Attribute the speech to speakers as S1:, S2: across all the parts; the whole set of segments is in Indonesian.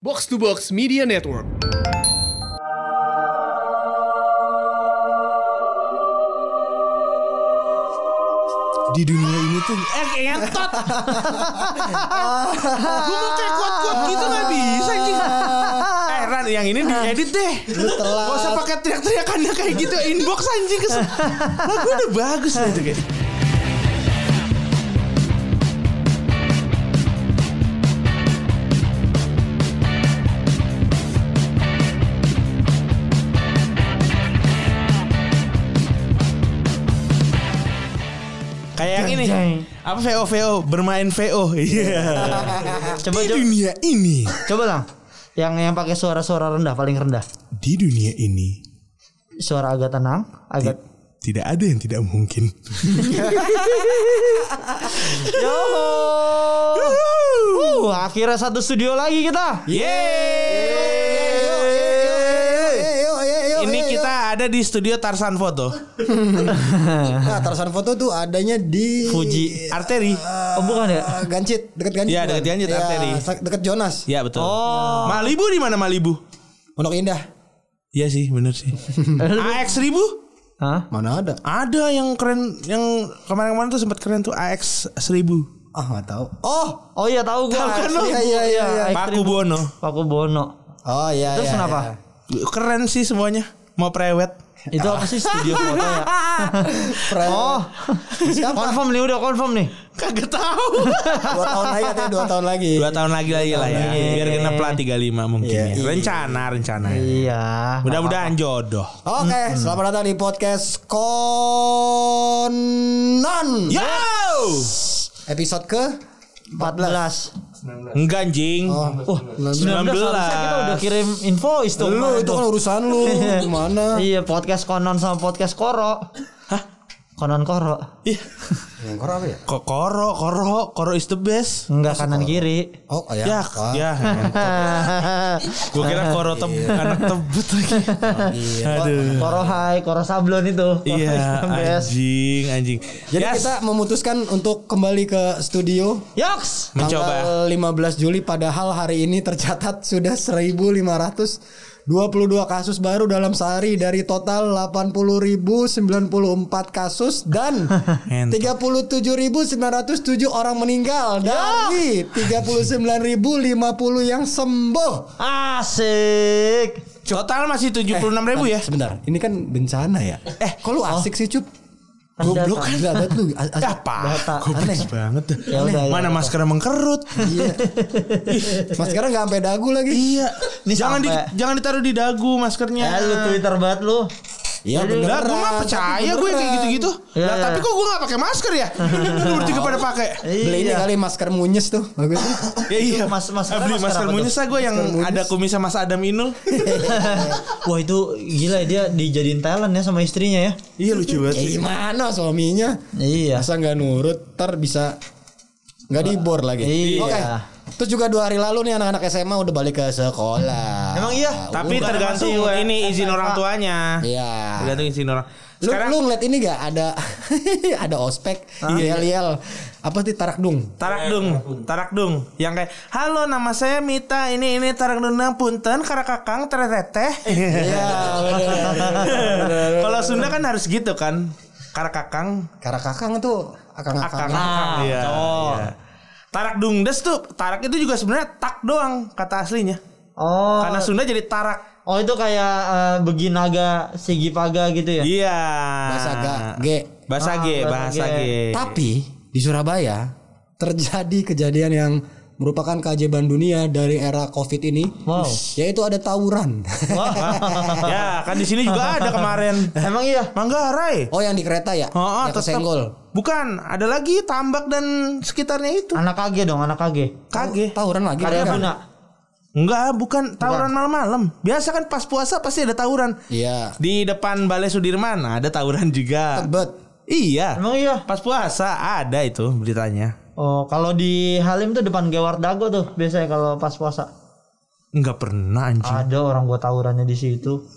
S1: Box to Box Media Network.
S2: di dunia ini tuh
S1: Eh, entot. Gue mau kayak kuat-kuat gitu gak bisa anjing. Eh, Ran, yang ini diedit deh.
S2: lu telat
S1: Gak usah pakai teriak-teriakannya kayak gitu inbox anjing kes. Lagu udah bagus lah itu kayak.
S3: Kayak yang ini.
S4: Jeng.
S3: Apa VO VO bermain VO. Iya.
S4: Coba
S2: di
S4: coba,
S2: dunia ini
S4: coba lang. Yang yang pakai suara-suara rendah paling rendah.
S2: di dunia ini
S4: Suara agak tenang, agak
S2: tidak ada yang tidak mungkin
S4: Yo. Uh, akhirnya satu studio lagi kita.
S3: Ini kita ada di studio Tarsan Foto.
S5: Nah, Tarsan Foto tuh adanya di
S3: Fuji Arteri.
S4: Oh, bukan ya?
S5: Eh, Gancit, deket Gancit.
S3: Iya,
S5: kan?
S3: deket Gancit,
S5: Iya,
S3: Arteri.
S5: sa- Deket Jonas.
S3: Ya betul. Oh. Malibu di mana Malibu?
S5: Pondok Indah.
S3: Iya sih, bener sih. AX 1000?
S4: Hah?
S5: Mana ada?
S3: Ada yang keren yang kemarin-kemarin tuh sempat keren tuh AX 1000.
S5: Ah, nggak tahu. Oh,
S4: Oh iya tahu gua.
S3: kan lu?
S5: Iya, iya, iya, iya.
S3: Paku Bono.
S4: Paku Bono.
S5: oh iya.
S4: Terus
S5: iya,
S4: kenapa?
S5: iya.
S3: Keren sih semuanya. Mau prewet.
S4: Itu apa sih studio foto ya?
S5: Pre-
S4: Oh.
S5: siapa?
S4: Confirm nih udah confirm nih.
S3: Kagak tahu.
S5: dua tahun lagi katanya dua tahun lagi.
S3: Dua tahun lagi lagi lah ya.
S4: Iya.
S3: Biar genep lah 35 mungkin.
S5: Iya.
S3: ya. Rencana, rencana.
S4: Iya.
S3: Mudah-mudahan jodoh.
S5: Oke,
S3: Hmm.
S5: selamat datang di podcast Konan.
S3: Yo!
S5: Episode ke
S4: 14.
S3: Enggak anjing.
S5: Oh.
S4: Wah, 19 harusnya kita udah kirim invoice tuh.
S5: Lu
S4: kemarin
S5: itu
S4: tuh.
S5: kan urusan lu Gimana
S4: Iya, podcast konon sama podcast koro. Hah? Konon koro.
S3: Ih,
S5: Yang koran apa ya?
S3: kok koro, koro, koro is the best.
S4: Enggak kanan kiri.
S5: Oh ya,
S3: Ya,
S5: Wah,
S3: ya. Gue kira koro teb anak tebet lagi. Aduh.
S4: Koro hai, koro sablon itu. Koro
S3: Iya,
S4: is the best.
S3: anjing, anjing.
S5: Jadi
S3: Yes,
S5: kita memutuskan untuk kembali ke studio
S4: Yoks.
S3: mencoba.
S5: Tanggal 15 Juli padahal hari ini tercatat sudah 1522 kasus baru dalam sehari dari total 80.094 kasus dan 37.907 orang meninggal
S3: Ya.
S5: dari 39.050 yang sembuh.
S4: Asik.
S3: Total masih 76 ribu ya. oh.
S5: Sebentar, ini kan bencana ya. Eh, kok lu asik sih, Cup?
S4: Tanda-
S5: Goblok kan? Gila banget lu. as- asik.
S4: Data.
S3: Apa? Goblok banget.
S4: Ya udah, ya
S3: Mana
S4: udah.
S3: masker mengkerut?
S5: Iya. Mas sekarang gak sampai dagu lagi.
S3: Iya.
S4: Ini
S3: jangan di,
S4: sampai-
S3: jangan ditaruh di dagu maskernya.
S4: Ya lu Twitter banget lu.
S5: Iya
S3: Lah gue mah percaya gue kayak gitu-gitu.
S4: Iya,
S3: Lah
S4: iya.
S3: tapi kok gue gak pakai masker ya? Lu bertiga pada pakai.
S5: Beli
S4: Iya.
S5: ini kali masker munyes tuh. Bagus.
S3: Ya iya.
S4: mas- masker-
S3: Ah, beli
S4: masker
S3: masker
S4: apa
S3: munyes lah gue yang
S5: munyes.
S3: ada kumisnya Mas Adam Inul.
S4: Wah itu gila ya, dia dijadiin talent ya sama istrinya ya.
S3: iya lucu banget
S5: ya gimana suaminya?
S4: Iya.
S5: Masa nggak nurut, ter bisa nggak dibor lagi.
S4: Iya.
S5: Oke. Terus juga dua hari lalu nih anak-anak SMA udah balik ke sekolah.
S4: Emang iya?
S3: Tapi
S4: Udah,
S3: tergantung
S4: masih,
S3: ini izin
S4: Pak.
S3: orang tuanya.
S5: Iya.
S3: Tergantung izin orang.
S5: Lu,
S3: Sekarang Ah,
S5: lu ngeliat ini gak ada ada ospek
S3: iya.
S5: yel yel apa sih tarakdung
S3: Tarakdung, Tarakdung yang kayak halo nama saya Mita ini ini Tarakdung punten karakakang tereteh.
S5: Iya,
S3: Kalau Sunda kan harus gitu kan. Karakakang
S5: karena kakang tuh akang
S3: akang
S5: akang,
S3: akang iya, iya. Tarak dungdes tuh tarak itu juga sebenarnya tak doang kata aslinya
S4: Oh.
S3: karena Sunda jadi tarak
S4: Oh itu kayak eh, beginaga sigi paga gitu ya.
S3: iya
S5: bahasa ga g
S3: bahasa
S4: Ah,
S3: G
S4: bahasa
S3: bahasa
S4: G.
S3: G
S5: tapi di Surabaya terjadi kejadian yang merupakan keajaiban dunia dari era covid ini
S4: Wow.
S5: yaitu ada tawuran
S3: ya kan di sini juga ada kemarin
S4: Emang iya.
S3: Manggarai
S5: Oh yang di kereta ya?
S3: Oh,
S5: yang
S3: tetap.
S5: kesenggol.
S3: bukan ada lagi Tambak dan sekitarnya itu
S4: Anak kage dong, anak kage.
S3: kage
S5: Oh, Tawuran lagi. ya?
S4: Karya
S5: mereka.
S4: guna.
S3: enggak bukan tawuran malam-malam biasa kan pas puasa pasti ada tawuran
S5: Iya.
S3: di depan Balai Sudirman ada tawuran juga
S5: Tebet.
S3: iya
S4: Emang iya.
S3: pas puasa ada itu beritanya
S4: Oh, kalau di Halim tuh depan Gewar Dago tuh biasanya kalau pas puasa.
S3: Enggak pernah
S5: Ah,
S3: anjing.
S4: Ada orang buat tawurannya di situ.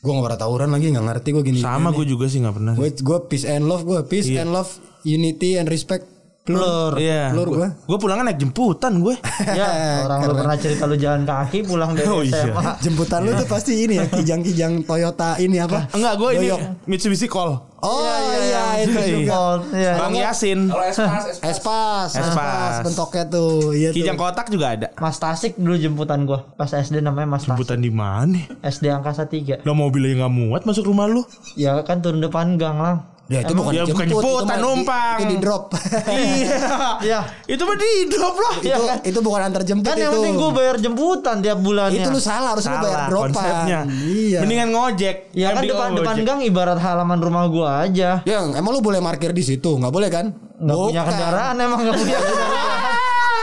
S5: Gue gak pernah tawuran lagi gak ngerti gue gini.
S3: Sama gue juga sih nggak pernah.
S5: Gue gue peace and love gue peace and love unity and respect. Telur.
S3: Iya.
S5: Telur gua.
S3: Gue pulangnya naik jemputan gue.
S4: Ya, orang lu pernah cerita lu jalan kaki pulang dari
S3: Oh, iya.
S4: SMA.
S5: Jemputan lu tuh pasti ini ya kijang-kijang Toyota ini apa?
S3: Enggak, gue ini Iya,
S5: Doyok.
S3: Mitsubishi Call.
S5: Oh iya, itu juga.
S4: Oh, iya.
S3: Bang Yasin.
S1: Kalau espas, espas.
S5: Espas,
S3: Espas.
S5: bentoknya tuh, iya tuh.
S3: Kijang kotak juga ada.
S4: Mas Tasik dulu jemputan gua pas SD namanya Mas Tasik.
S3: Jemputan di mana?
S4: SD Angkasa 3.
S3: Lah mobilnya nggak muat masuk rumah lu.
S4: Ya kan turun depan gang lah.
S5: Ya itu bukan
S3: ya, bukan
S5: dijemput, itu
S3: jemputan,
S5: mah di-
S3: numpang.
S5: Itu di drop.
S3: Iya.
S4: Iya.
S3: Itu mah di drop lah.
S5: itu, itu bukan antar jemput
S4: Kan yang
S5: itu.
S4: penting gua Iya. bayar jemputan tiap bulannya.
S5: itu lu salah harusnya lu bayar
S3: Salah
S5: dropan.
S3: konsepnya.
S5: Iya.
S3: Mendingan ngojek.
S4: Ya kan
S3: Mending
S4: depan
S3: ngojek.
S4: depan gang ibarat halaman rumah gua aja.
S5: Yang Ya, emang lu boleh parkir di situ, nggak boleh kan?
S4: Nggak punya
S5: Bukan.
S4: kendaraan emang nggak punya kendaraan.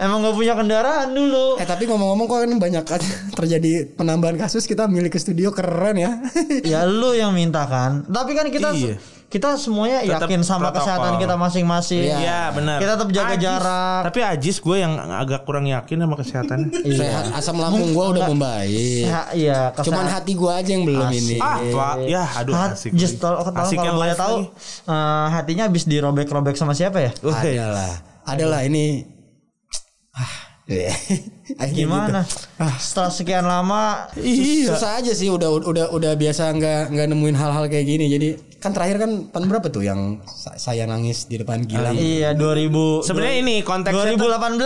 S4: emang nggak punya kendaraan dulu.
S5: Eh tapi ngomong-ngomong kok ini banyak aja terjadi penambahan kasus kita milik ke studio keren ya.
S4: Ya lu yang minta kan. Tapi kan kita
S3: Iya.
S4: kita semuanya
S3: Tetap
S4: yakin sama
S3: protokol.
S4: kesehatan kita masing-masing.
S3: Iya benar.
S4: Kita tetap jaga
S3: Ajis.
S4: jarak.
S3: Tapi Ajis gue yang agak kurang yakin sama kesehatannya.
S5: Sehat asam lambung gua udah membaik.
S4: Ya, iya, kesehatan.
S5: Cuman hati gua aja yang belum ini.
S3: ah, tua. Ya, aduh
S4: Hat-
S3: asik.
S4: Just tol- tolong
S3: Asiknya
S4: kalau boleh
S3: live
S4: tahu
S3: lagi. Oh,
S4: eh, hatinya habis dirobek-robek sama siapa ya?
S5: Adalah, adalah ini. Ah, akhirnya
S3: iya,
S4: Gimana?
S5: gitu.
S3: Ah.
S4: Setelah sekian lama
S5: Sus- Susah aja sih udah udah udah biasa nggak nggak nemuin hal-hal kayak gini. Jadi kan terakhir kan tahun berapa tuh yang sa- saya nangis di depan Gilang?
S4: iya 2000
S3: Sebenarnya ini konteksnya
S4: 2018.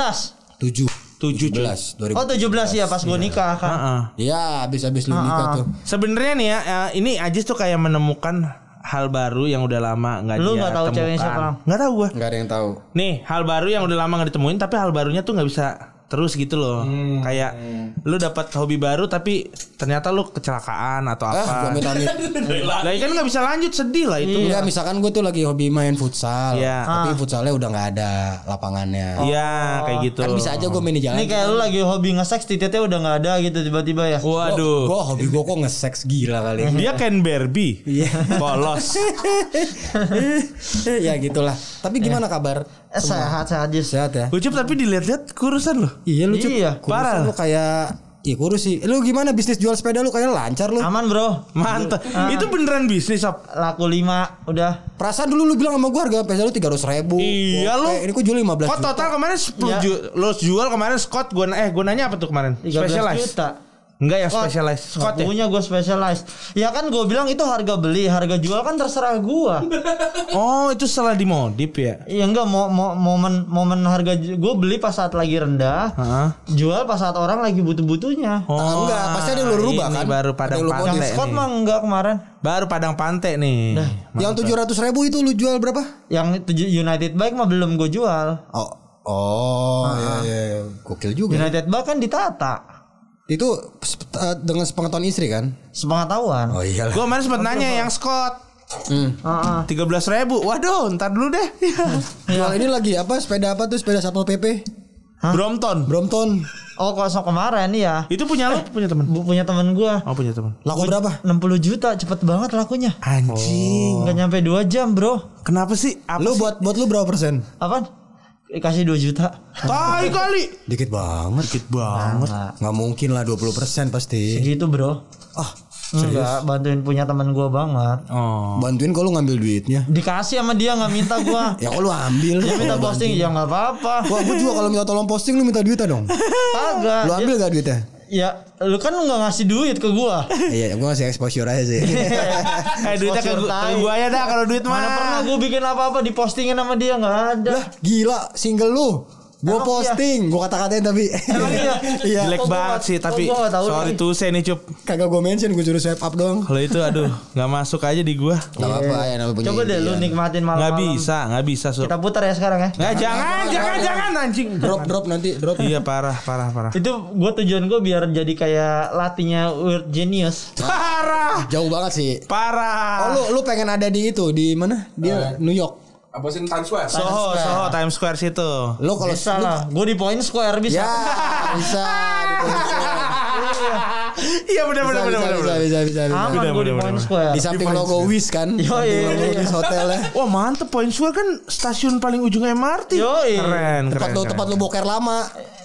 S5: 7
S3: Tujuh,
S5: 17 2000.
S4: Oh 17 ya pas gue nikah kan.
S3: Heeh.
S5: Ya, habis-habis lu nikah tuh.
S3: Sebenarnya nih ya, eh, ini Ajis tuh kayak menemukan hal baru yang udah lama nggak dia
S4: Lu
S3: temukan.
S4: nggak tahu ceweknya siapa, Ram?
S3: Nggak tahu gue.
S5: Nggak ada yang tahu.
S3: Nih hal baru yang udah lama nggak ditemuin, tapi hal barunya tuh nggak bisa terus gitu loh.
S5: Hmm.
S3: Kayak lu dapat hobi baru tapi ternyata lu kecelakaan atau
S5: Ah,
S3: apa.
S5: gua amit-amit.
S3: Lah kan nggak bisa lanjut sedih lah itu.
S5: Enggak, misalkan gue tuh lagi hobi main futsal,
S3: Iya.
S5: tapi futsalnya udah nggak ada lapangannya.
S3: Iya kayak gitu.
S5: Hmm. Kan bisa aja gue main di jalan.
S4: Ini kayak lu lagi hobi nge-sex tititnya udah nggak ada gitu tiba-tiba ya.
S3: Waduh.
S5: Gue hobi gue kok nge-sex gila kali.
S3: Dia Ken Barbie.
S5: Iya.
S3: Polos.
S5: ya gitulah. Tapi gimana kabar?
S4: Eh, sehat sehat aja.
S5: Sehat ya?
S3: Ucup tapi dilihat-lihat kurusan loh.
S5: Iya lu Cuk.
S4: Iya,
S5: Kurus
S3: parah.
S5: Lu kayak Iya kurus sih. Lu gimana bisnis jual sepeda lu kayaknya lancar lu.
S4: Aman bro.
S3: Mantap.
S5: Ah.
S3: Itu beneran bisnis Sob.
S4: Laku 5 udah.
S5: Perasaan dulu lu bilang sama gua harga sepeda lu 300 ribu.
S3: Iya lu.
S5: Oh, eh, Ini gua jual 15
S3: Kok
S5: juta.
S3: total kemarin 10
S4: Iya.
S3: ju- lo jual kemarin Scott gua eh gua nanya apa tuh kemarin?
S4: 13
S3: Specialized.
S4: juta.
S3: Enggak ya
S4: Wah,
S3: specialized. Scott
S4: nggak
S3: ya.
S4: punya gue specialized. Ya kan gue bilang itu harga beli, harga jual kan terserah gua.
S3: Oh, itu setelah dimodif ya.
S4: Iya enggak mau mau momen momen harga gue beli pas saat lagi rendah,
S3: Heeh.
S4: jual pas saat orang lagi butuh-butuhnya.
S5: Ah, enggak, pasti ada yang lu rubah
S3: ini
S5: kan?
S3: baru
S5: Ada
S3: padang
S5: yang lu
S3: pantai. Oh,
S4: Yang
S3: nih.
S4: Scott mah enggak kemarin.
S3: Baru padang pantai nih.
S5: Yang 700 ribu itu lu jual berapa?
S4: Yang tujuh United Bike mah belum gue jual.
S5: Oh, oh, iya, iya, iya. gokil juga.
S4: United Bike kan ditata
S5: Itu sep- eh, dengan sepengetahuan istri kan?
S4: sepengetahuan.
S3: iya.
S5: Oh iyalah.
S3: Gua kemarin sempat nanya yang Scott
S5: Hmm.
S4: Heeh.
S3: 13.000. Waduh, ntar dulu deh.
S5: Jual ini lagi apa? Sepeda apa tuh? Sepeda satpol pp?
S3: Brompton.
S5: Brompton.
S4: Oh kosong kemarin ya.
S3: Itu punya lu, punya temen
S4: Bu punya temen gue
S3: Oh, punya temen
S5: Laku berapa?
S4: 60 juta cepet banget lakunya.
S3: Anjing.
S4: Enggak nyampe 2 jam, Bro.
S3: Oh. Kenapa sih? Apa
S5: Lu
S3: sih?
S5: buat buat lu berapa persen?
S4: Apaan? Kasih 2 juta.
S3: Tai kali.
S5: Dikit banget.
S3: Dikit banget.
S5: Nggak mungkin lah 20% pasti.
S4: Gitu, Bro.
S5: Ah,
S4: Enggak, bantuin punya temen gue banget.
S3: Oh.
S5: bantuin kalau ngambil duitnya.
S4: Dikasih sama dia nggak minta gue.
S5: Ya kalau lu ambil.
S4: dia minta posting ya nggak apa-apa.
S5: Wah, gue juga kalau minta tolong posting lu minta duitnya dong.
S4: Kagak.
S5: Lu ambil gak duitnya?
S4: Ya, lu kan nggak ngasih duit ke gua.
S5: Iya, gue ngasih exposure aja sih.
S3: Eh duitnya ke,
S4: Sponsor
S3: gua- ke
S4: tai.
S3: gua ya dah kalau duit mah.
S4: Mana pernah gua bikin apa-apa dipostingin sama dia nggak ada.
S5: Gila, single lu. Gue
S4: Emang iya?
S5: posting, gue kata-katain tapi
S4: Emang iya?
S5: iya.
S3: Jelek
S4: Kok gua
S3: banget
S4: nggak-
S3: sih
S4: kok
S3: tapi
S4: gua nggak tahu
S3: sorry
S4: nih?
S3: tuh saya nih cup.
S5: kagak gue mention gue juru swipe up doang.
S3: Kalau itu aduh nggak masuk aja di gua.
S5: Gak apa-apa ya namanya punya
S4: Iya. Coba deh lu
S5: impian.
S4: nikmatin
S3: Nggak
S4: malam-malam.
S3: bisa, nggak bisa sur.
S4: Kita putar ya sekarang
S5: Nah.
S4: ya.
S3: Nggak Eh, jangan, jangan, jangan anjing.
S5: Drop drop nanti drop.
S3: Iya parah, parah, parah.
S4: Itu gua tujuan gua biar jadi kayak latihnya Weird Genius.
S3: Parah,
S5: Jauh banget sih.
S3: parah.
S5: Oh lu lu pengen ada di itu di mana? Di New York.
S1: Apa sih Times Square?
S3: Soho,
S4: Times Square.
S3: Soho, Times Square situ.
S5: Lu kalau
S4: Bisa
S5: lu-
S4: lah. Gua di Point Square bisa.
S5: Ya, bisa. di Pondok.
S3: Iya benar benar benar
S5: bisa,
S3: benar.
S5: bisa,
S3: benar.
S5: bisa, bisa, bisa.
S4: Aman
S3: Bener,
S4: gua di
S3: bener,
S4: Point
S3: bener.
S4: Square.
S5: Di samping logo Wish kan, di
S4: Yo,
S5: samping
S4: iya,
S5: logo ya.
S4: iya.
S5: Wish hotelnya.
S3: Wah mantep Point Square kan stasiun paling ujung MRT.
S4: Yoi.
S3: Keren, keren.
S5: Tempat lu
S3: keren.
S5: tempat lu boker lama.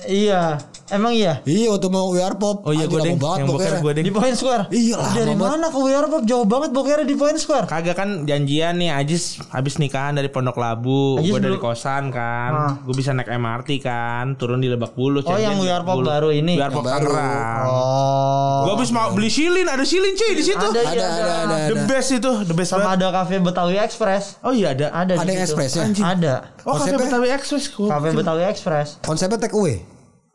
S4: Iya. Emang iya?
S5: Iya waktu mau We Are Pop.
S3: Oh iya gue deng
S5: anjing, ya. lama banget
S3: yang bokep
S5: bokernya.
S3: gue deng.
S4: Di Point Square?
S5: Iya lah,
S4: Dari
S5: lama
S4: mana ke WR Pop? Jauh banget bokernya di Point Square.
S3: Kagak kan janjian nih Ajis habis nikahan dari Pondok Labu,
S4: Ajis
S3: gue dari
S4: dulu-
S3: kosan kan,
S4: Ah.
S3: gue bisa naik MRT kan, turun di Lebak Bulus.
S4: Oh,
S3: janjian
S4: yang
S3: di
S4: We Are
S3: Lebak
S4: Pop
S3: Bulus.
S4: baru ini?
S3: We Are
S5: Yang
S3: Pop
S5: baru.
S3: Tangerang.
S4: Oh.
S3: Gue habis mau beli silin, ada silin cuy di situ.
S4: Ada,
S5: Ada
S4: iya,
S5: ada ada.
S3: The
S5: ada.
S3: best itu, the best
S4: Sama
S3: banget.
S4: ada Cafe Betawi Express.
S3: Oh iya ada.
S4: Ada,
S5: Ada
S4: di
S5: yang
S4: situ.
S5: Express ya?
S4: Anjing. Ada.
S3: Oh Cafe
S5: Konsepnya?
S3: Betawi Express. Gua-
S4: Cafe Betawi Express.
S5: Konsepnya take away.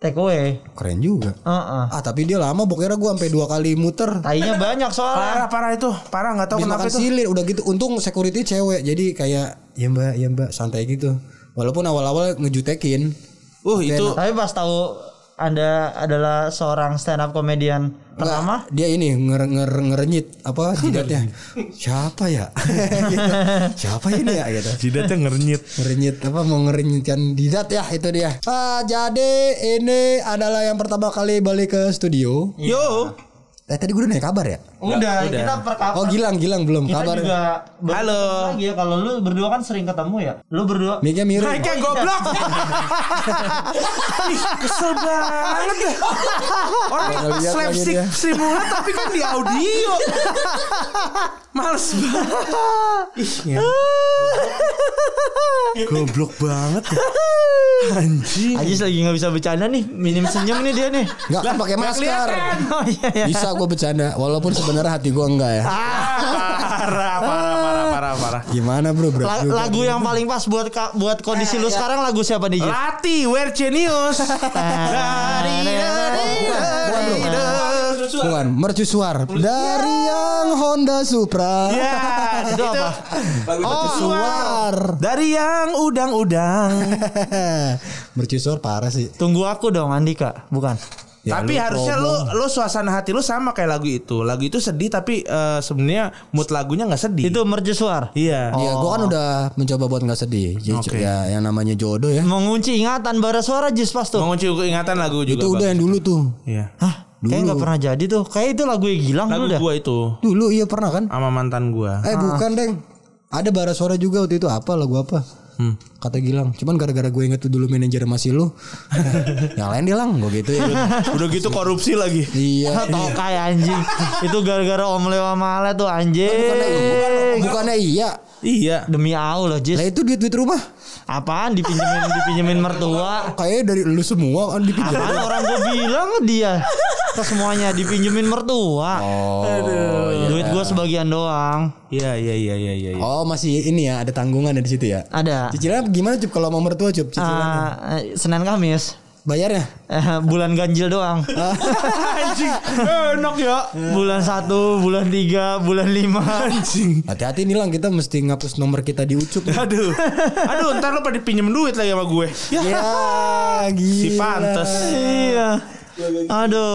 S4: Take away.
S5: Keren juga.
S4: Heeh.
S5: Ah tapi dia lama bokernya gue sampai dua kali muter.
S4: Tainya banyak soalnya.
S3: Parah parah itu, parah nggak tahu
S5: Habis
S3: kenapa
S5: makan
S3: itu.
S5: silir udah gitu. Untung security cewek jadi kayak ya mbak ya mbak santai gitu. Walaupun awal-awal ngejutekin.
S3: Uh itu
S4: Tapi pas tahu Anda adalah seorang stand up komedian pertama,
S5: Dia ini nger nger ngerenyit apa jidatnya. Siapa ya? Gitu. Siapa ini ya gitu.
S1: Jidatnya ngernyit.
S5: Ngerenyit apa mau ngerenyitkan jidat ya itu dia. Ah, jadi ini adalah yang pertama kali balik ke studio.
S3: yo.
S5: Eh tadi gue udah nanya kabar ya?
S4: udah, kita per
S5: Oh Gilang, Gilang belum
S4: kita
S5: kabar.
S4: juga ber-
S3: Halo.
S4: lagi ya kalau lu berdua kan sering ketemu ya. Lu berdua
S5: Mic-nya miring.
S3: Naiknya goblok. Ih, Kesel banget ya. Orang
S5: Nggak lihat lagi
S3: slapstick
S5: dia.
S3: Sri Mulat tapi kan di audio. Males banget. Ih, ya.
S2: Goblok banget ya. Anjing.
S4: Ajis lagi nggak bisa bercanda nih, minim senyum nih dia nih.
S5: Enggak kan pakai masker.
S4: Iya. Oh iya iya.
S5: Bisa gue bercanda walaupun sebenarnya hati gue enggak ya.
S4: Ah.
S3: Parah, parah, parah, parah, parah.
S5: Gimana bro? Berat
S4: La-
S5: juga.
S4: lagu yang paling pas buat ka- buat kondisi
S5: Eh, iya.
S4: lu sekarang lagu siapa nih? Jis?
S3: Lati, where genius? Dari, dari,
S5: Bukan,
S3: dari,
S5: bukan,
S3: dari.
S5: Bukan, mercusuar dari
S4: Ya.
S5: yang Honda Supra.
S3: Ya, gitu. itu apa?
S5: Oh, Mercusuar.
S3: Dari yang udang-udang.
S5: mercusuar parah sih.
S4: Tunggu aku dong Andika, bukan.
S5: Ya,
S3: tapi
S5: lu
S3: harusnya lu lu suasana hati lu sama kayak lagu itu. Lagu itu sedih tapi eh, sebenarnya mood lagunya nggak sedih.
S4: Itu mercusuar.
S3: iya.
S5: Ya, gue kan udah mencoba buat nggak sedih. Jadi, Ya, yang namanya jodoh ya.
S4: Mengunci ingatan bara suara Jis pas tuh.
S3: Mengunci ingatan lagu juga.
S5: Itu udah
S3: Bang.
S5: yang dulu tuh.
S3: Iya.
S4: Hah? Kayak
S5: Dulu.
S4: nggak pernah jadi tuh. Kayak itu lagu yang Gilang
S3: Lagu
S4: dulu dah.
S3: gua itu
S5: Dulu iya pernah kan?
S3: sama mantan gua.
S5: Eh bukan deng. Ada bara suara juga waktu itu apa lagu apa?
S3: Hmm.
S5: Kata Gilang, cuman gara-gara gue inget tuh dulu manajer masih lu. yang lain dia lang, gue gitu ya.
S3: Udah gitu korupsi lagi. Ah,
S5: iya.
S4: Tokai anjing. itu gara-gara Om Leo sama Ale tuh
S3: Eh,
S5: kan
S4: anjing.
S5: Bukannya iya.
S3: Iya.
S4: Demi Allah
S5: Lah
S4: Jis.
S5: itu duit-duit rumah.
S4: Apaan dipinjemin dipinjemin mertua?
S5: Kayaknya dari lu semua kan dipinjam.
S4: Apaan orang gue bilang ke dia ke semuanya dipinjemin mertua. Oh, Duit gue sebagian doang.
S3: Iya, iya, iya, iya, iya. iya.
S5: Oh masih ini ya ada tanggungan ya di situ ya.
S4: Ada.
S5: Cicilan gimana cup kalau mau mertua cup ya? cicilan
S3: ya?
S4: Ah, eh, Senin Kamis.
S5: bayarnya?
S4: Eh, bulan ganjil doang.
S3: Anjing, enak ya.
S4: bulan satu, bulan tiga, bulan lima.
S5: Hati-hati nih lang kita mesti ngapus nomor kita di ucup.
S3: Oh. Aduh. Aduh, ntar lu pada pinjem duit lagi sama gue. Ya,
S5: ya gila.
S3: si pantes.
S4: iya.
S5: Kalau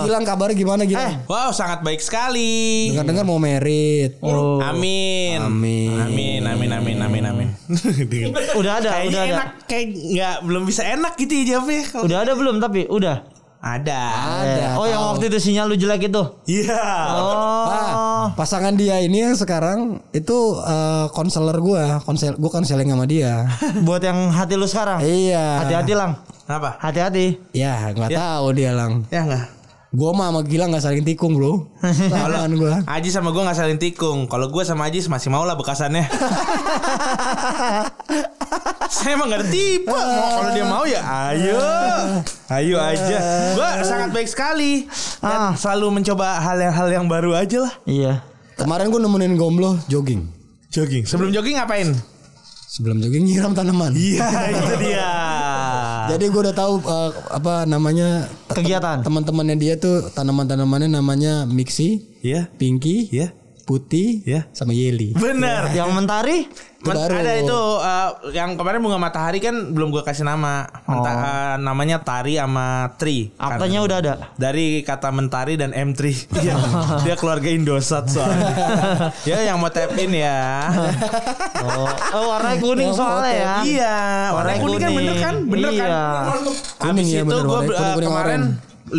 S4: Aduh.
S5: Gilang kabar gimana
S4: Eh.
S5: Gilang?
S3: Wow, sangat baik sekali.
S5: Dengar-dengar mau merit.
S4: Oh.
S3: Amin.
S5: Amin.
S3: Amin, amin, amin, amin, amin.
S4: Udah ada,
S3: Kayaknya
S4: udah ada.
S3: enak, kayak nggak belum bisa enak gitu ya jawabnya. Kalau-
S4: Oh. Udah ada belum tapi? Udah.
S3: Ada.
S5: Ada,
S4: oh, yang
S5: Ya, tahu.
S4: waktu itu sinyal lu jelek itu.
S3: Iya.
S4: Oh.
S5: Ah, pasangan dia ini yang sekarang itu eh, konselor gua, konsel gua konseling sama dia.
S4: Buat yang hati lu sekarang.
S5: iya.
S4: Hati-hati, Lang.
S3: Kenapa?
S4: Hati-hati.
S5: Ya, nggak tahu dia lang.
S3: Ya enggak.
S5: Gua mah sama Gilang nggak saling tikung, Bro. Tangan gua.
S3: Aji sama gue nggak saling tikung. Kalau gue sama Aji masih mau lah bekasannya. Saya emang nggak ada tipe. Mau- Kalau dia mau ya, ayo, ayo aja. Gue sangat baik sekali dan selalu mencoba hal-hal yang baru aja lah.
S4: Iya.
S5: Kemarin gua nemenin Gomblo jogging.
S3: Jogging. Sebelum jogging ngapain?
S5: Sebelum jogging nyiram tanaman.
S3: Iya, itu dia.
S5: Jadi gua udah tahu eh, apa namanya te-
S4: Kegiatan.
S5: teman-temannya dia tuh tanaman-tanamannya namanya Mixi,
S3: Iya.
S5: Pinky,
S3: Iya.
S5: Putih,
S3: Iya.
S5: sama Yeli.
S3: Bener.
S4: Yang mentari?
S5: Itu
S3: Men-
S5: baru.
S3: Ada itu eh, yang kemarin bunga matahari kan belum gue kasih nama. Menta- eh, namanya Tari sama Tri. Karena-
S4: Apanya udah ada.
S3: dari kata mentari dan M3 dia, dia keluarga Indosat soalnya ya yang mau tap in ya
S4: Oh, oh warnanya kuning soalnya ya.
S3: iya warna kuning kan bener kan bener
S4: Iya.
S3: kan habis
S5: Kuning ya,
S3: itu
S5: bener,
S3: gue
S5: warnanya kuning-kuning
S3: kemarin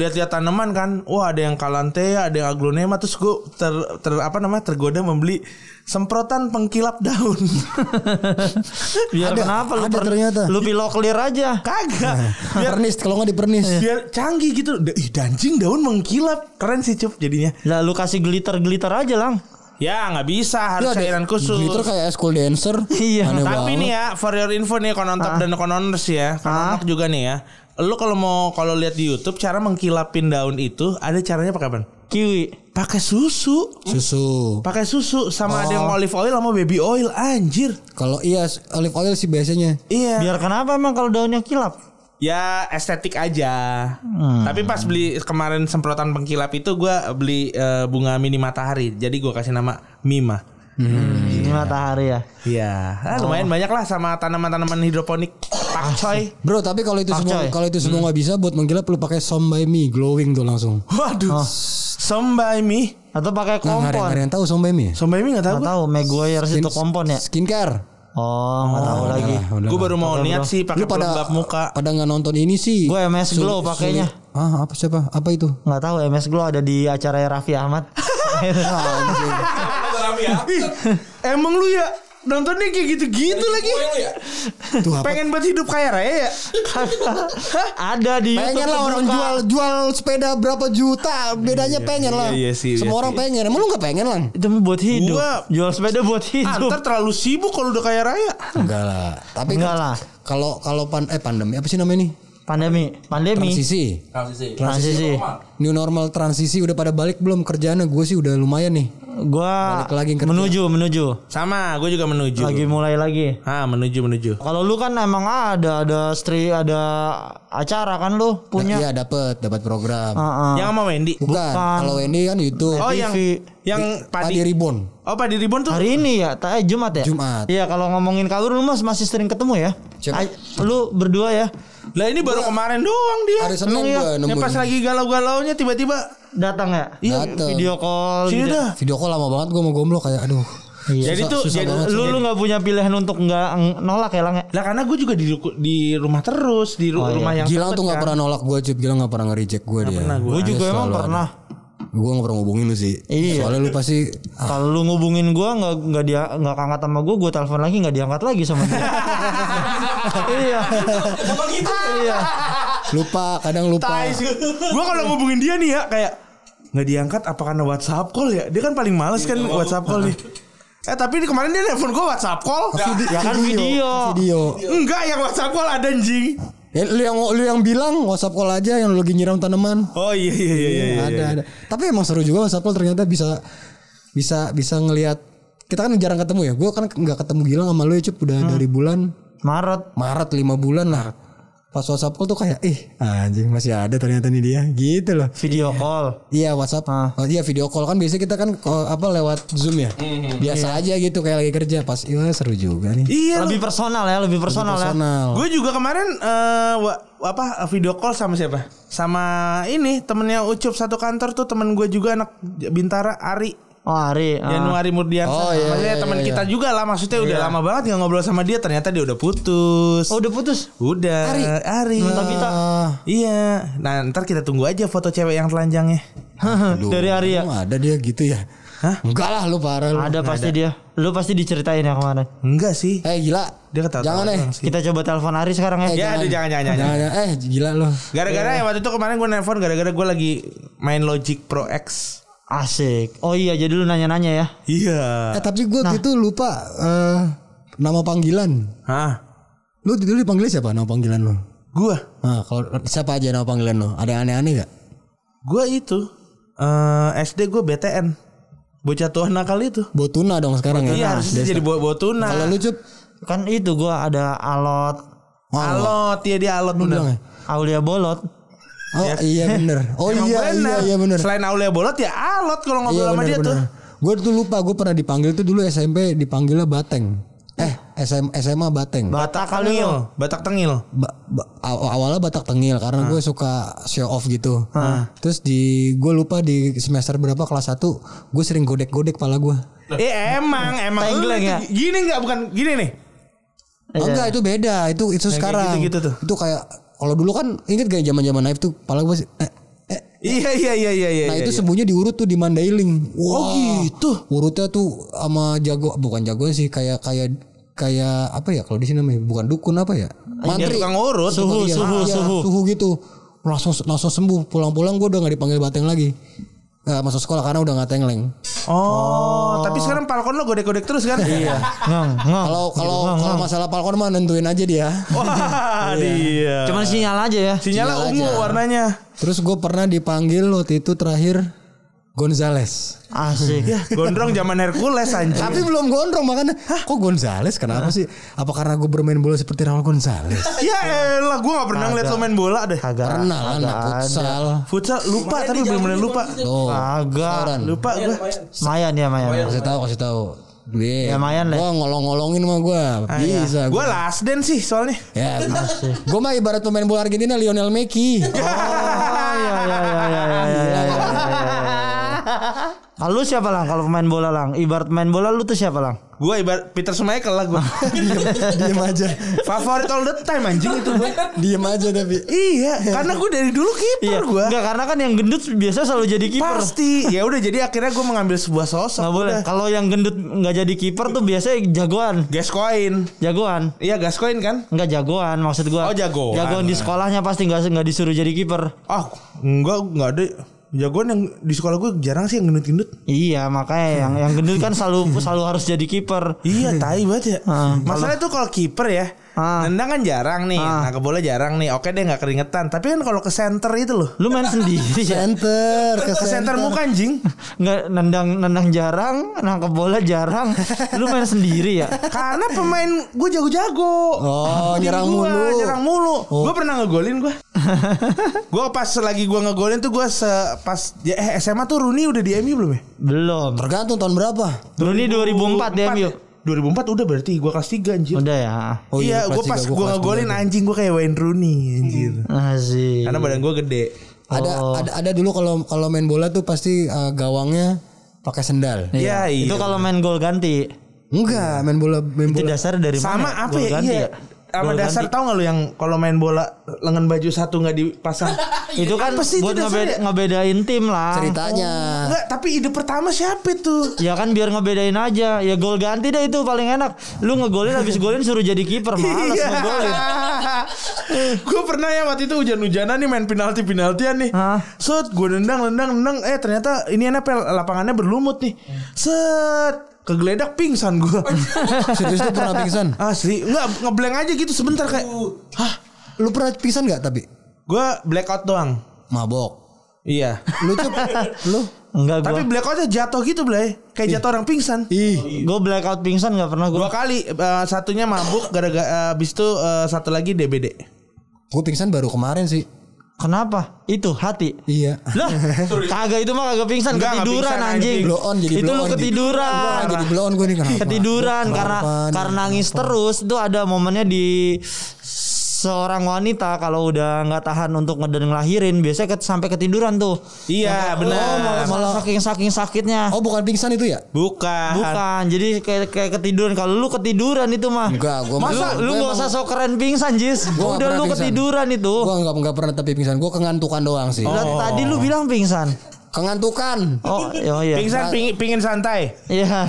S3: lihat-lihat tanaman kan wah ada yang kalantea ada yang aglonema terus gue ter, ter apa namanya tergoda membeli semprotan pengkilap daun
S4: Biar
S5: Ada,
S4: kenapa lu
S5: ada
S4: per-
S5: ternyata.
S4: Lu pilok clear aja.
S3: kagak biar
S5: Pernis kalau nggak dipernis.
S3: biar canggih gitu Da- ih dancing daun mengkilap keren sih cup jadinya
S4: Lah lu kasih glitter-glitter aja, Lang.
S3: ya nggak bisa harus
S5: Lu ada
S3: cairan khusus
S5: Glitter kayak school dancer.
S4: Iya.
S5: Aneh
S3: Tapi
S5: banget.
S3: nih ya, for your info nih konontop dan kononers ya, konontok juga nih ya. Lu kalau mau kalau lihat di YouTube cara mengkilapin daun itu ada caranya pakai apa?
S4: Kiwi.
S3: Pakai susu.
S5: Susu.
S3: Pakai susu sama ada yang olive oil sama baby oil anjir.
S5: Kalau iya olive oil sih biasanya.
S3: Iya.
S4: Biar kenapa emang kalau daunnya kilap?
S3: Ya estetik aja. Tapi pas beli kemarin semprotan pengkilap itu gua beli eh, bunga mini matahari. Jadi gua kasih nama Mima.
S5: Hmm,
S4: Ini matahari ya.
S3: Iya.
S5: Oh.
S3: Ah, lumayan banyak lah sama tanaman-tanaman hidroponik.
S4: Ah,
S3: Pakcoy.
S5: Bro, tapi kalau itu semua
S4: Pakcoy.
S5: kalau itu
S3: Hmm.
S5: semua nggak bisa buat menggilap lu pakai Some by Me glowing tuh langsung. Oh.
S3: Waduh. Sombai mi.
S4: oh. Atau pakai
S5: Nah, nggak ada nggak ada
S4: kompon.
S5: yang tahu Some by Me. ya?
S3: Sombai mi enggak tahu
S4: Enggak
S3: gua.
S4: tahu Maguire situ
S5: Skin-
S4: kompon ya.
S5: Skincare.
S4: Oh, enggak tahu lagi.
S5: Udah lah, udah
S3: Gue
S5: lah.
S3: baru mau niat sih pakai
S5: lu pada
S3: pelembab muka.
S5: pada nggak nonton ini sih.
S4: Gua MS
S5: Sulit-
S4: Glow
S5: sulit.
S4: pakainya.
S5: Ah, apa siapa? Apa itu?
S4: Nggak tahu MS Glow ada di acara Raffi Ahmad.
S3: Ih, Emang lu ya nontonnya kayak gitu-gitu lagi.
S5: Tuh apa?
S3: Pengen buat hidup kayak Raya ya?
S4: ada di
S5: Pengen
S4: YouTube
S5: lah orang
S4: terbuka.
S5: jual jual sepeda berapa juta bedanya pengen lah.
S3: iya sih, iya
S5: Semua orang
S3: sih.
S5: pengen. Emang lu nggak pengen lah?
S4: Itu mah buat hidup.
S3: Gua-
S4: Jual sepeda buat
S3: Ah,
S4: hidup.
S3: ntar terlalu sibuk kalau udah kayak Raya.
S5: Enggak lah. Tapi kan
S4: Enggak lah.
S5: Kalau kalau pan eh pandemi apa sih namanya nih?
S4: Pandemi, pandemi.
S5: Transisi.
S3: Ah.
S4: Transisi.
S5: New normal transisi udah pada balik belum kerjaannya gue sih udah lumayan nih.
S4: Gua
S5: Balik lagi kerja.
S4: menuju, menuju.
S3: Sama, gue juga menuju.
S4: Lagi mulai lagi.
S3: Ah, menuju menuju.
S4: Kalau lu kan emang ada ada stri ada acara kan lu punya. Ah.
S5: Iya dapat dapat program.
S4: Heeh.
S3: Yang sama Wendy.
S5: Bukan. Kalau Wendy kan YouTube.
S3: Oh, yang
S4: TV.
S3: yang
S5: Padi
S3: padi.
S5: Ribbon.
S3: Oh, padi ribon tuh.
S4: Hari ini ya, ta- eh, Jumat ya?
S5: Jumat.
S4: Iya, kalau ngomongin kabur lu mas masih sering ketemu ya?
S5: Siapa?
S4: Ay- lu berdua ya
S3: Lah ini baru kemarin doang dia.
S5: Hari Senin
S4: Emang iya?
S5: gue
S3: Ya
S5: nemu.
S3: pas lagi galau-galaunya tiba-tiba
S4: datang ya?
S5: Iya. Datang.
S4: Video call.
S3: sini
S4: gitu.
S3: dah.
S5: Video call lama banget gue mau gomblo kayak aduh.
S4: Iya.
S5: Iya,
S3: Jadi tuh jadi
S4: Lu lu nggak punya pilihan untuk nggak ng- nolak ya lang ya?
S3: lah karena gue juga di di rumah terus di ru- rumah yang sempit
S5: Gilang Oh, iya. tuh nggak
S3: kan.
S5: pernah nolak gue Cip Gilang nggak pernah nge-reject gue dia
S4: Gue juga
S5: Dia
S4: emang
S5: selalu
S4: pernah.
S5: ada. Gue nggak pernah ngubungin lu sih
S4: Iya.
S5: Soalnya lu pasti
S4: Kalau lu ngubungin gua nggak nggak dia nggak angkat sama gua, gua telepon lagi nggak diangkat lagi sama dia. iya. Iya.
S5: Lupa Kadang lupa
S3: gue kalau ngubungin dia nih ya kayak nggak diangkat apa karena WhatsApp call ya dia kan paling males kan WhatsApp call nih eh tapi di- kemarin dia nelfon gue WhatsApp call
S4: Ya kan video.
S5: Video
S3: enggak yang WhatsApp call ada anjing
S5: Eh, Lu yang lu yang bilang WhatsApp call aja Yang lu lagi nyiram tanaman
S3: oh iya iya iya iya, iya.
S5: ada ada. Tapi emang seru juga WhatsApp call ternyata bisa bisa bisa ngelihat kita kan jarang ketemu ya. Gue kan nggak ketemu Gilang sama lu ya Cup udah dari bulan
S4: Maret.
S5: Maret 5 bulan lah. Pas WhatsApp call tuh kayak ih anjing masih ada ternyata nih dia gitu loh.
S4: Video call.
S5: Iya WhatsApp. Oh, iya video call kan biasanya kita kan ko- apa lewat Zoom ya. Biasa aja gitu kayak lagi kerja pas iya seru juga nih.
S3: iya
S4: Lebih personal ya, lebih personal,
S5: Personal.
S3: gue juga kemarin eh, wa- apa video call sama siapa sama ini temennya Ucup satu kantor tuh temen gue juga anak bintara Ari
S4: ya. Oh, Ari. ah.
S3: Januari Murdiansyah
S5: Oh, iya,
S3: maksudnya
S5: iya,
S3: teman
S5: iya,
S3: kita juga lah maksudnya udah lama banget nggak ngobrol sama dia ternyata dia udah putus
S4: Oh, udah putus.
S3: udah
S5: Ari?
S3: Ari
S4: Tabita.
S5: Ah,
S3: Iya, nah ntar kita tunggu aja foto cewek yang telanjangnya.
S5: aduh,
S4: Dari Ari ya.
S5: emang ada dia gitu ya. Hah? Enggak lah lu parah lu.
S4: Ada pasti dia. Lu pasti diceritain ya kemarin.
S3: Enggak sih.
S5: Eh gila.
S3: Dia ketawa.
S5: Jangan eh.
S4: Kita coba telepon Ari sekarang ya.
S5: Eh,
S3: Ya, aduh, jangan, jangan, jangan.
S5: Jangan, jangan. Eh gila lu.
S3: Gara-gara
S5: Iya.
S3: ya waktu itu kemarin gue nelpon gara-gara gue lagi main Logic Pro X.
S4: Asik. Oh iya, jadi lu nanya-nanya ya.
S3: Iya.
S5: Eh tapi gue gitu lupa eh, nama panggilan.
S3: Hah?
S5: Lu dulu dipanggilnya siapa nama panggilan lu?
S3: Gua,
S5: Nah, kalau siapa aja nama panggilan lu? Ada yang aneh-aneh gak?
S3: gua itu eh SD gue BTN. Bocah tua nakal itu.
S5: Botuna dong sekarang ya.
S3: Iya, harusnya jadi buat botuna.
S5: Kalau lu cup
S4: Kan itu gua ada alot
S3: Alot, ya dia alot
S5: bilang ya?
S3: bener.
S4: Aulia Bolot.
S5: Oh iya bener. Oh
S3: Emang
S5: iya iya iya bener.
S3: Selain Aulia Bolot ya alot kalau
S5: Iya
S3: ngobrol sama dia tuh.
S5: Gue tuh lupa gue pernah dipanggil tuh dulu SMP dipanggilnya Bateng. Eh SM, SMA Bateng.
S4: Batak kali
S3: Tengil,
S4: lu.
S3: Batak Tengil.
S5: Ba- ba- aw- awalnya Batak Tengil
S3: Ah.
S5: karena gue suka show off gitu. Terus di gue lupa di semester berapa kelas 1 gue sering godek-godek pala gue.
S3: Eh emang emang Lu
S4: Tenggelam ya?
S3: Gini nggak bukan gini nih.
S5: Oh,
S4: Iya.
S5: enggak itu beda itu itu sekarang.
S3: gitu-gitu tuh.
S5: Itu kayak kalau dulu kan inget gak zaman zaman naif tuh pala gue eh,
S3: Iya iya iya iya iya.
S5: Nah
S3: iya,
S5: itu
S3: iya.
S5: semuanya diurut tuh di Mandailing.
S3: Oh, gitu.
S5: Urutnya tuh sama jago bukan jago sih kayak kayak kayak apa ya kalau di sini namanya bukan dukun apa ya?
S3: Dia
S5: Mantri.
S3: tukang urut.
S4: Suhu,
S5: Suhu,
S4: suhu, suhu.
S5: suhu gitu. Langsung langsung sembuh. Pulang-pulang gue udah nggak dipanggil bateng lagi. Nggak masuk sekolah karena udah nggak tengleng.
S3: Oh, tapi sekarang Falcon lo godek-godek terus kan? Iya.
S4: Ngang, ngang.
S5: Kalau kalau kalau masalah Falcon mah nentuin aja dia.
S3: Wah, dia.
S5: Iya.
S4: Cuman Iya. sinyal aja ya.
S3: Sinyalnya ungu warnanya.
S5: Terus gue pernah dipanggil waktu itu terakhir Gonzales.
S4: Asik.
S3: Gondrong zaman Hercules anjing.
S5: Tapi belum gondrong makanya. Kok Gonzales? Kenapa sih? Apa karena gue bermain bola seperti Raul Gonzales?
S3: Ya elah gue gak pernah ngeliat lo main bola deh Agak
S5: Pernah lah anak futsal.
S3: Futsal lupa tapi belum bener lupa
S4: gitu.
S5: Tuh.
S4: Ah, Agak.
S5: Sauran.
S3: Lupa gue
S4: Mayan ya Mayan.
S5: Kasih tahu, kasih tahu. Gue
S4: Ya, lumayan deh.
S5: Gue ngolong-ngolongin mah gue. Bisa
S3: Gue
S5: gue.
S3: last dance sih soalnya
S5: Ya, gue mah ibarat pemain bola Argentina Lionel Messi. Oh.
S4: Ah, ya, ya, ya, ya, ya, ya, ya, ya, ya. Ah, lu siapa lang kalau pemain bola lang? Ibarat main bola lu tuh siapa lang?
S3: Gue ibarat Peter Schmeichel lah gue
S5: Diem aja,
S3: Favorit all the time anjing itu gue
S5: diem aja tapi.
S3: Iya karena gue dari dulu kiper gue
S4: Enggak karena kan yang gendut biasa selalu jadi kiper.
S3: Pasti Ya udah jadi akhirnya gue mengambil sebuah sosok
S4: Nggak boleh. Kalau yang gendut nggak jadi kiper tuh biasanya jagoan,
S3: Gascoin
S4: jagoan.
S3: Iya Gascoin kan
S4: Enggak jagoan maksud gua.
S3: Oh, jagoan.
S4: Jagoan di sekolahnya pasti enggak enggak disuruh jadi kiper.
S3: Ah enggak enggak ada Jagoan yang di sekolah gue jarang sih yang gendut-gendut
S4: Iya, makanya yang yang gendut kan selalu selalu harus jadi kiper.
S3: Iya tai banget ya
S4: Ah,
S3: Masalahnya tuh kalau kiper ya
S4: Ah.
S3: Nendang kan jarang nih Nangkep bola jarang nih Oke deh nggak keringetan Tapi kan kalau ke center itu loh
S4: Lu main sendiri ya?
S5: Center, ke
S3: Ke center
S5: center.
S3: muka anjing
S4: Nggak nendang nendang jarang, nangkep bola jarang. Lu main sendiri ya?
S3: Karena pemain gue jago-jago
S5: Oh,
S3: Tim
S5: nyerang
S3: gua,
S5: mulu. Oh.
S3: Nyerang mulu Gue pernah ngegolin gue Gue pas lagi gue ngegolin tuh Gue se- pas ya, eh, SMA tuh Rooney udah di MU belum ya?
S4: Belum.
S5: Tergantung tahun berapa.
S4: Rooney 2004 ya, Mio.
S3: 2004 udah berarti gue kelas 3 anjir
S4: Udah ya.
S5: Oh
S3: iya,
S5: kelas
S3: gue
S5: tiga, Iya.
S3: pas
S5: gua
S3: gue
S5: kelas
S3: ngegolin
S5: dua.
S3: anjing gue kayak Wayne Rooney anjir.
S4: Asik.
S3: Karena badan gue gede.
S5: Ada, ada ada dulu kalau kalau main bola tuh pasti eh, gawangnya pakai sendal.
S3: Iya, iya.
S4: Itu kalau main gol ganti.
S5: Enggak, main bola main
S4: Itu
S5: bola.
S4: dasar dari
S3: sama
S4: mana?
S3: apa
S4: Gol
S3: ya?
S4: ganti
S3: Iya. Sama
S4: Gol
S3: dasar
S4: ganti.
S3: tau gak lu yang kalau main bola lengan baju satu nggak dipasang?
S4: Itu kan
S3: Iya, Apa sih itu
S4: buat ngebe-
S3: dasarnya?
S4: ngebedain tim lah.
S5: Ceritanya.
S3: Oh, Enggak, tapi ide pertama siapa itu?
S4: Ya kan biar ngebedain aja. Ya gol ganti deh itu paling enak. Lu ngegolin habis golin suruh jadi kiper
S3: Iya.
S4: malas ngegolin.
S3: gue pernah ya waktu itu hujan-hujanan nih main penalti-penaltian nih.
S4: Hah?
S3: Set, gue nendang, nendang, nendang. Eh ternyata ini apa ya, lapangannya berlumut nih. Set, kegeledak pingsan gue.
S5: Serius lu pernah pingsan?
S3: Asli, enggak ngeblank aja gitu sebentar kayak. Hah,
S5: Lu pernah pingsan nggak tapi?
S3: gue blackout doang.
S5: Mabok.
S3: Iya.
S5: Lu tuh lu
S4: Enggak gua.
S3: Tapi blackoutnya jatuh gitu, Blay. Kayak jatuh orang pingsan.
S5: ih
S4: Gua blackout pingsan nggak pernah gua.
S3: Dua kali eh, satunya mabuk gara-gara eh, abis itu eh, satu lagi DBD.
S5: gue pingsan baru kemarin sih.
S4: Kenapa? Itu hati.
S5: Iya.
S4: Lah, kagak itu mah kagak pingsan
S3: Enggak, enggak
S4: ketiduran
S3: pingsan,
S4: anjing.
S3: anjing.
S5: Blow on jadi
S4: itu
S5: blow
S4: lu
S5: on.
S4: ketiduran.
S5: Wah, jadi blown gue nih kenapa?
S4: ketiduran
S5: Kenapa
S4: karena
S5: nih?
S4: karena nangis terus itu ada momennya di seorang wanita kalau udah nggak tahan untuk ngeden ngelahirin biasanya ket- sampai ketiduran tuh
S3: Iya,
S4: oh,
S3: benar.
S4: malah, malah saking saking sakitnya
S5: Oh bukan pingsan itu ya?
S3: Bukan.
S4: bukan jadi kayak kayak ketiduran kalau lu ketiduran itu mah
S5: Enggak, gua
S4: masa
S5: mah-
S4: lu
S5: gua
S4: nggak
S5: emang-
S4: usah sok keren pingsan jis udah
S5: Gua nggak pernah
S4: lu
S5: pingsan.
S4: ketiduran itu
S5: Gue nggak nggak pernah tapi pingsan. Gue kengantukan doang sih.
S4: Lah, tadi lu bilang pingsan
S5: Kengantukan.
S4: oh oh iya
S3: Pingsan pingin, pingin santai.
S4: iya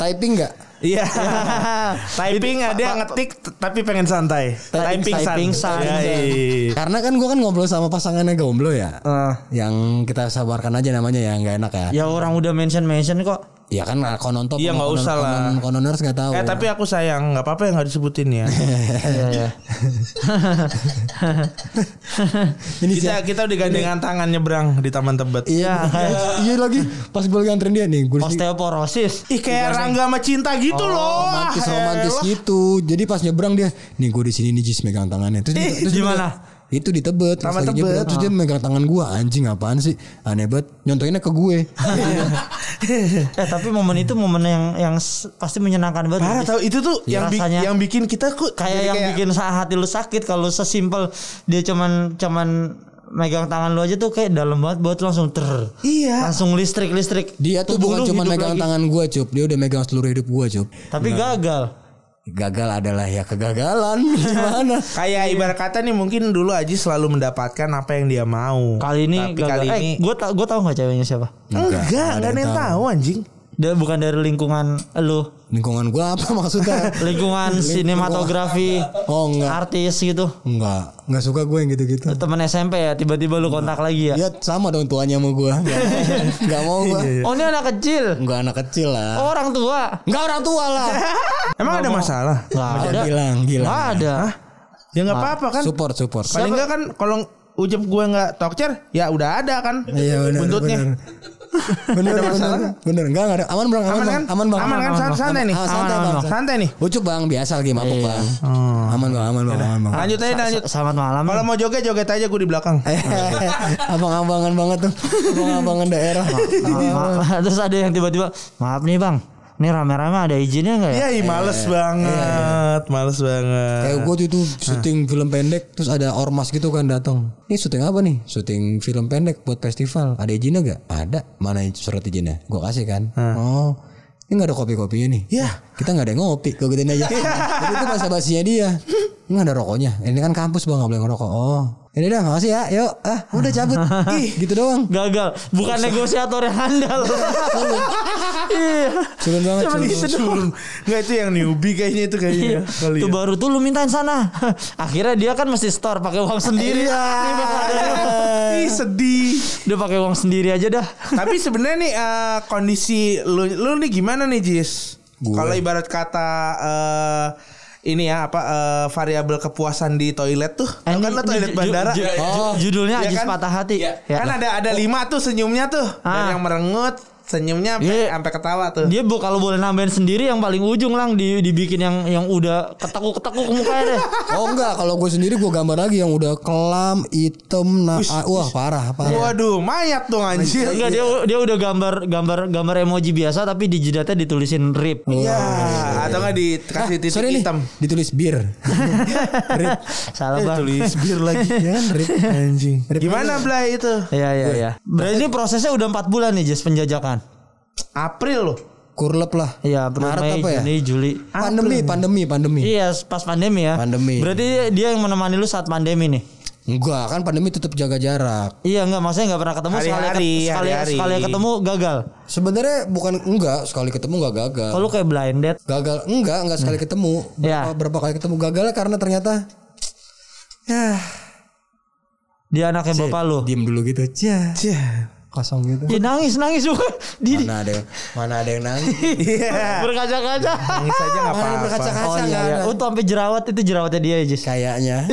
S5: Typing nggak?
S3: Iya.
S5: Eh.
S3: typing ada yang ngetik t- tapi pengen santai. Typing pingsan.
S4: typing san.
S3: Iya, iya.
S5: Karena kan gue kan ngobrol sama pasangannya gomblo ya.
S3: Oh.
S4: Eh,
S5: Yang kita sabarkan aja namanya ya nggak enak ya.
S4: ya orang udah mention mention kok
S5: Ya kan konon top.
S3: Iya, nggak
S5: konon-
S3: usah lah.
S5: konon- Kononers nggak tahu. ya.
S3: Eh tapi aku sayang nggak apa-apa ya nggak disebutin ya.
S5: Eh.
S4: Iya, iya.
S5: Ini sih.
S3: kita kita udah gandengan tangan nyebrang di Taman Tebet.
S4: Iya, kayak
S5: Iya lagi pas gue lagi anterin dia nih. Gue
S4: osteoporosis.
S3: Ih kayak Rangga sama Cinta gitu loh.
S5: romantis
S3: Ah,
S5: romantis
S3: elah.
S5: gitu. Jadi pas nyebrang dia, nih gue di sini nih Jis megang tangannya. Terus, dia-
S4: Ih,
S5: terus dia-
S4: gimana?
S5: itu di tebet, pas
S3: Sama Tebet.
S5: lagi nyebrang, terus dia megang tangan gue anjing apaan sih aneh banget nyontoinnya ke gue
S4: Eh tapi momen itu momen yang yang s- pasti menyenangkan banget.
S3: Parah
S4: Jis.
S3: tau itu tuh
S4: Ya,
S3: yang bi-
S4: rasanya-
S3: yang bikin kita kok jadi
S4: Kayak yang bikin sa- hati lu sakit kalau sesimpel dia cuman cuman megang tangan lu aja tuh kayak dalam banget buat langsung ter.
S3: Iya.
S4: Langsung listrik listrik.
S5: dia tuh
S4: Tubuh
S5: bukan
S4: lu
S5: cuma
S4: hidup
S5: megang
S4: lagi.
S5: tangan gue cup dia udah megang seluruh hidup gue cup
S4: Tapi gagal.
S5: gagal adalah ya kegagalan gimana
S3: Kayak ibarat kata nih mungkin dulu Aji selalu mendapatkan apa yang dia mau.
S4: Kali ini
S3: Tapi kali
S4: gagal.
S3: ini
S4: Eh, gue tau gue tau nggak ceweknya siapa?
S3: enggak, enggak ada yang tahu anjing.
S4: Dia bukan dari lingkungan lu,
S5: lingkungan gua apa maksudnya
S4: lingkungan sinematografi,
S5: oh enggak
S4: artis gitu.
S5: enggak enggak suka gue yang gitu-gitu
S4: Temen SMP ya, tiba-tiba lu kontak lagi ya.
S5: ya sama dong tuanya sama gua Enggak- enggak mau gua
S4: Oh ini anak kecil,
S5: enggak anak kecil
S4: Oh,
S5: lah
S4: orang tua.
S5: enggak orang tua lah
S3: Emang ada masalah?
S4: Gak ada,
S5: bilang
S4: gak
S5: gila
S4: ada.
S3: Ya nggak apa-apa kan.
S5: support support
S3: Paling enggak kan kalau ujep gue nggak tokcer ya udah ada kan
S5: Iya benar.
S3: buntutnya.
S5: Benar
S3: Ada
S5: benar.
S3: masalah
S5: Benar benar. Enggak enggak ada. Aman bang. Aman,
S3: Aman
S5: bang.
S3: kan?
S5: Aman bang.
S3: Aman kan? San- santai nih.
S5: Ah, santai
S4: Aman,
S5: bang.
S4: aman.
S3: Santai nih. Iya. Oh.
S5: Ucup bang biasa lagi mabuk bang. Aman bang. Aman bang. Aman bang.
S3: Lanjut aja lanjut.
S4: Sa- Eh, Selamat malam.
S3: Kalau mau joget joget aja gue di belakang.
S5: Abang-abangan banget tuh. Abang-abangan daerah.
S4: Ma- ma- Terus ada yang tiba-tiba, maaf nih bang, ini rame-rame ada izinnya nggak ya?
S3: Ya, ih, males banget,
S4: eh.
S3: males banget.
S5: Kayak gue itu syuting film pendek terus ada ormas gitu kan datang. Ini syuting apa nih? Syuting film pendek buat festival. Ada izinnya gak? Ada. Mana surat izinnya? Gue kasih kan. Oh. Ini gak ada kopi-kopinya nih.
S3: Iya.
S5: Kita gak ada yang ngopi. Gue gituin aja. Jadi itu bahasa basinya dia. Ini gak ada rokoknya. Ini kan kampus bang gak boleh ngerokok. Oh. Ini dah makasih ya. Yuk. Ah udah cabut. Ih, gitu doang.
S4: Gagal, bukan negosiator yang handal. Iya.
S5: Culun banget.
S4: Cuman
S5: culun.
S4: gitu doang.
S3: Enggak itu yang newbie kayaknya itu kayaknya. Kali
S4: Iya. Tuh
S3: ya.
S4: baru tuh lu mintain sana. Akhirnya dia kan mesti store pakai uang sendiri.
S3: Iya.
S4: Eh.
S3: Ih sedih.
S4: Dia pakai uang sendiri aja dah.
S3: Tapi sebenarnya nih eh, kondisi lu lu nih gimana nih Jis? Kalau ibarat kata eh, ini ya apa eh, variabel kepuasan di toilet tuh? kan
S4: Eh, ini-
S3: lu toilet
S4: ini ju-
S3: bandara.
S4: ju- ju- judulnya
S3: Iya
S4: Ajis
S3: kan?
S4: Patah Hati. Ya.
S3: Kan ada ada lima tuh senyumnya tuh.
S4: Ah.
S3: Dari yang merengut, senyumnya sampai
S4: Iya.
S3: sampai ketawa tuh.
S4: Dia bu kalau boleh nambahin sendiri yang paling ujung lang di- dibikin yang yang udah ketekuk-ketekuk mukanya deh.
S5: Oh enggak, kalau gue sendiri gue gambar lagi yang udah kelam, hitam, nah, ah, wah parah, parah.
S3: Waduh, mayat dong
S5: Iya.
S3: anjir.
S4: Enggak dia dia udah gambar gambar gambar emoji biasa tapi di jidatnya ditulisin rip.
S5: Iya,
S4: Iya.
S3: Ya, atau enggak dikasih titik
S5: Ah, Sorry nih,
S3: hitam.
S5: ditulis bir. Eh,
S4: Salah bang.
S5: bir lagi ya kan, rip.
S3: Anjing. Gimana Blay itu?
S4: Iya iya iya. Berarti ini prosesnya udah 4 bulan nih Jess penjajakan.
S3: April loh.
S5: Kurlep lah.
S4: Iya, belum
S5: Maret
S4: Mei,
S5: apa ya?
S4: Juni, Juli.
S5: Pandemi, pandemi, pandemi.
S4: Iya, pas pandemi ya.
S5: Pandemi.
S4: Berarti dia, dia yang menemani lu saat pandemi nih.
S5: Enggak, kan pandemi tetap jaga jarak.
S4: Iya enggak maksudnya enggak pernah ketemu sekali
S3: Hari-hari,
S4: sekali
S3: hari-hari.
S4: sekali ketemu gagal.
S5: Sebenarnya bukan enggak, sekali ketemu enggak gagal.
S4: Kalau lu kayak blinded.
S5: Gagal enggak, enggak sekali ketemu.
S4: Iya.
S5: Berapa, berapa kali ketemu gagalnya karena ternyata ya
S4: Dia anaknya bapak lu. Iya.
S5: diem dulu gitu. Cia. Kosong gitu.
S4: Dia nangis nangis juga. Di
S5: Mana ada yang, mana ada yang nangis.
S3: Iya.
S4: berkaca-kaca.
S3: Nangis aja enggak
S5: Mana
S3: apa-apa.
S5: berkaca-kaca kan?
S4: Oh iya, iya. Oh, tuh sampai jerawat itu jerawatnya dia ya, Jis.
S5: Kayaknya.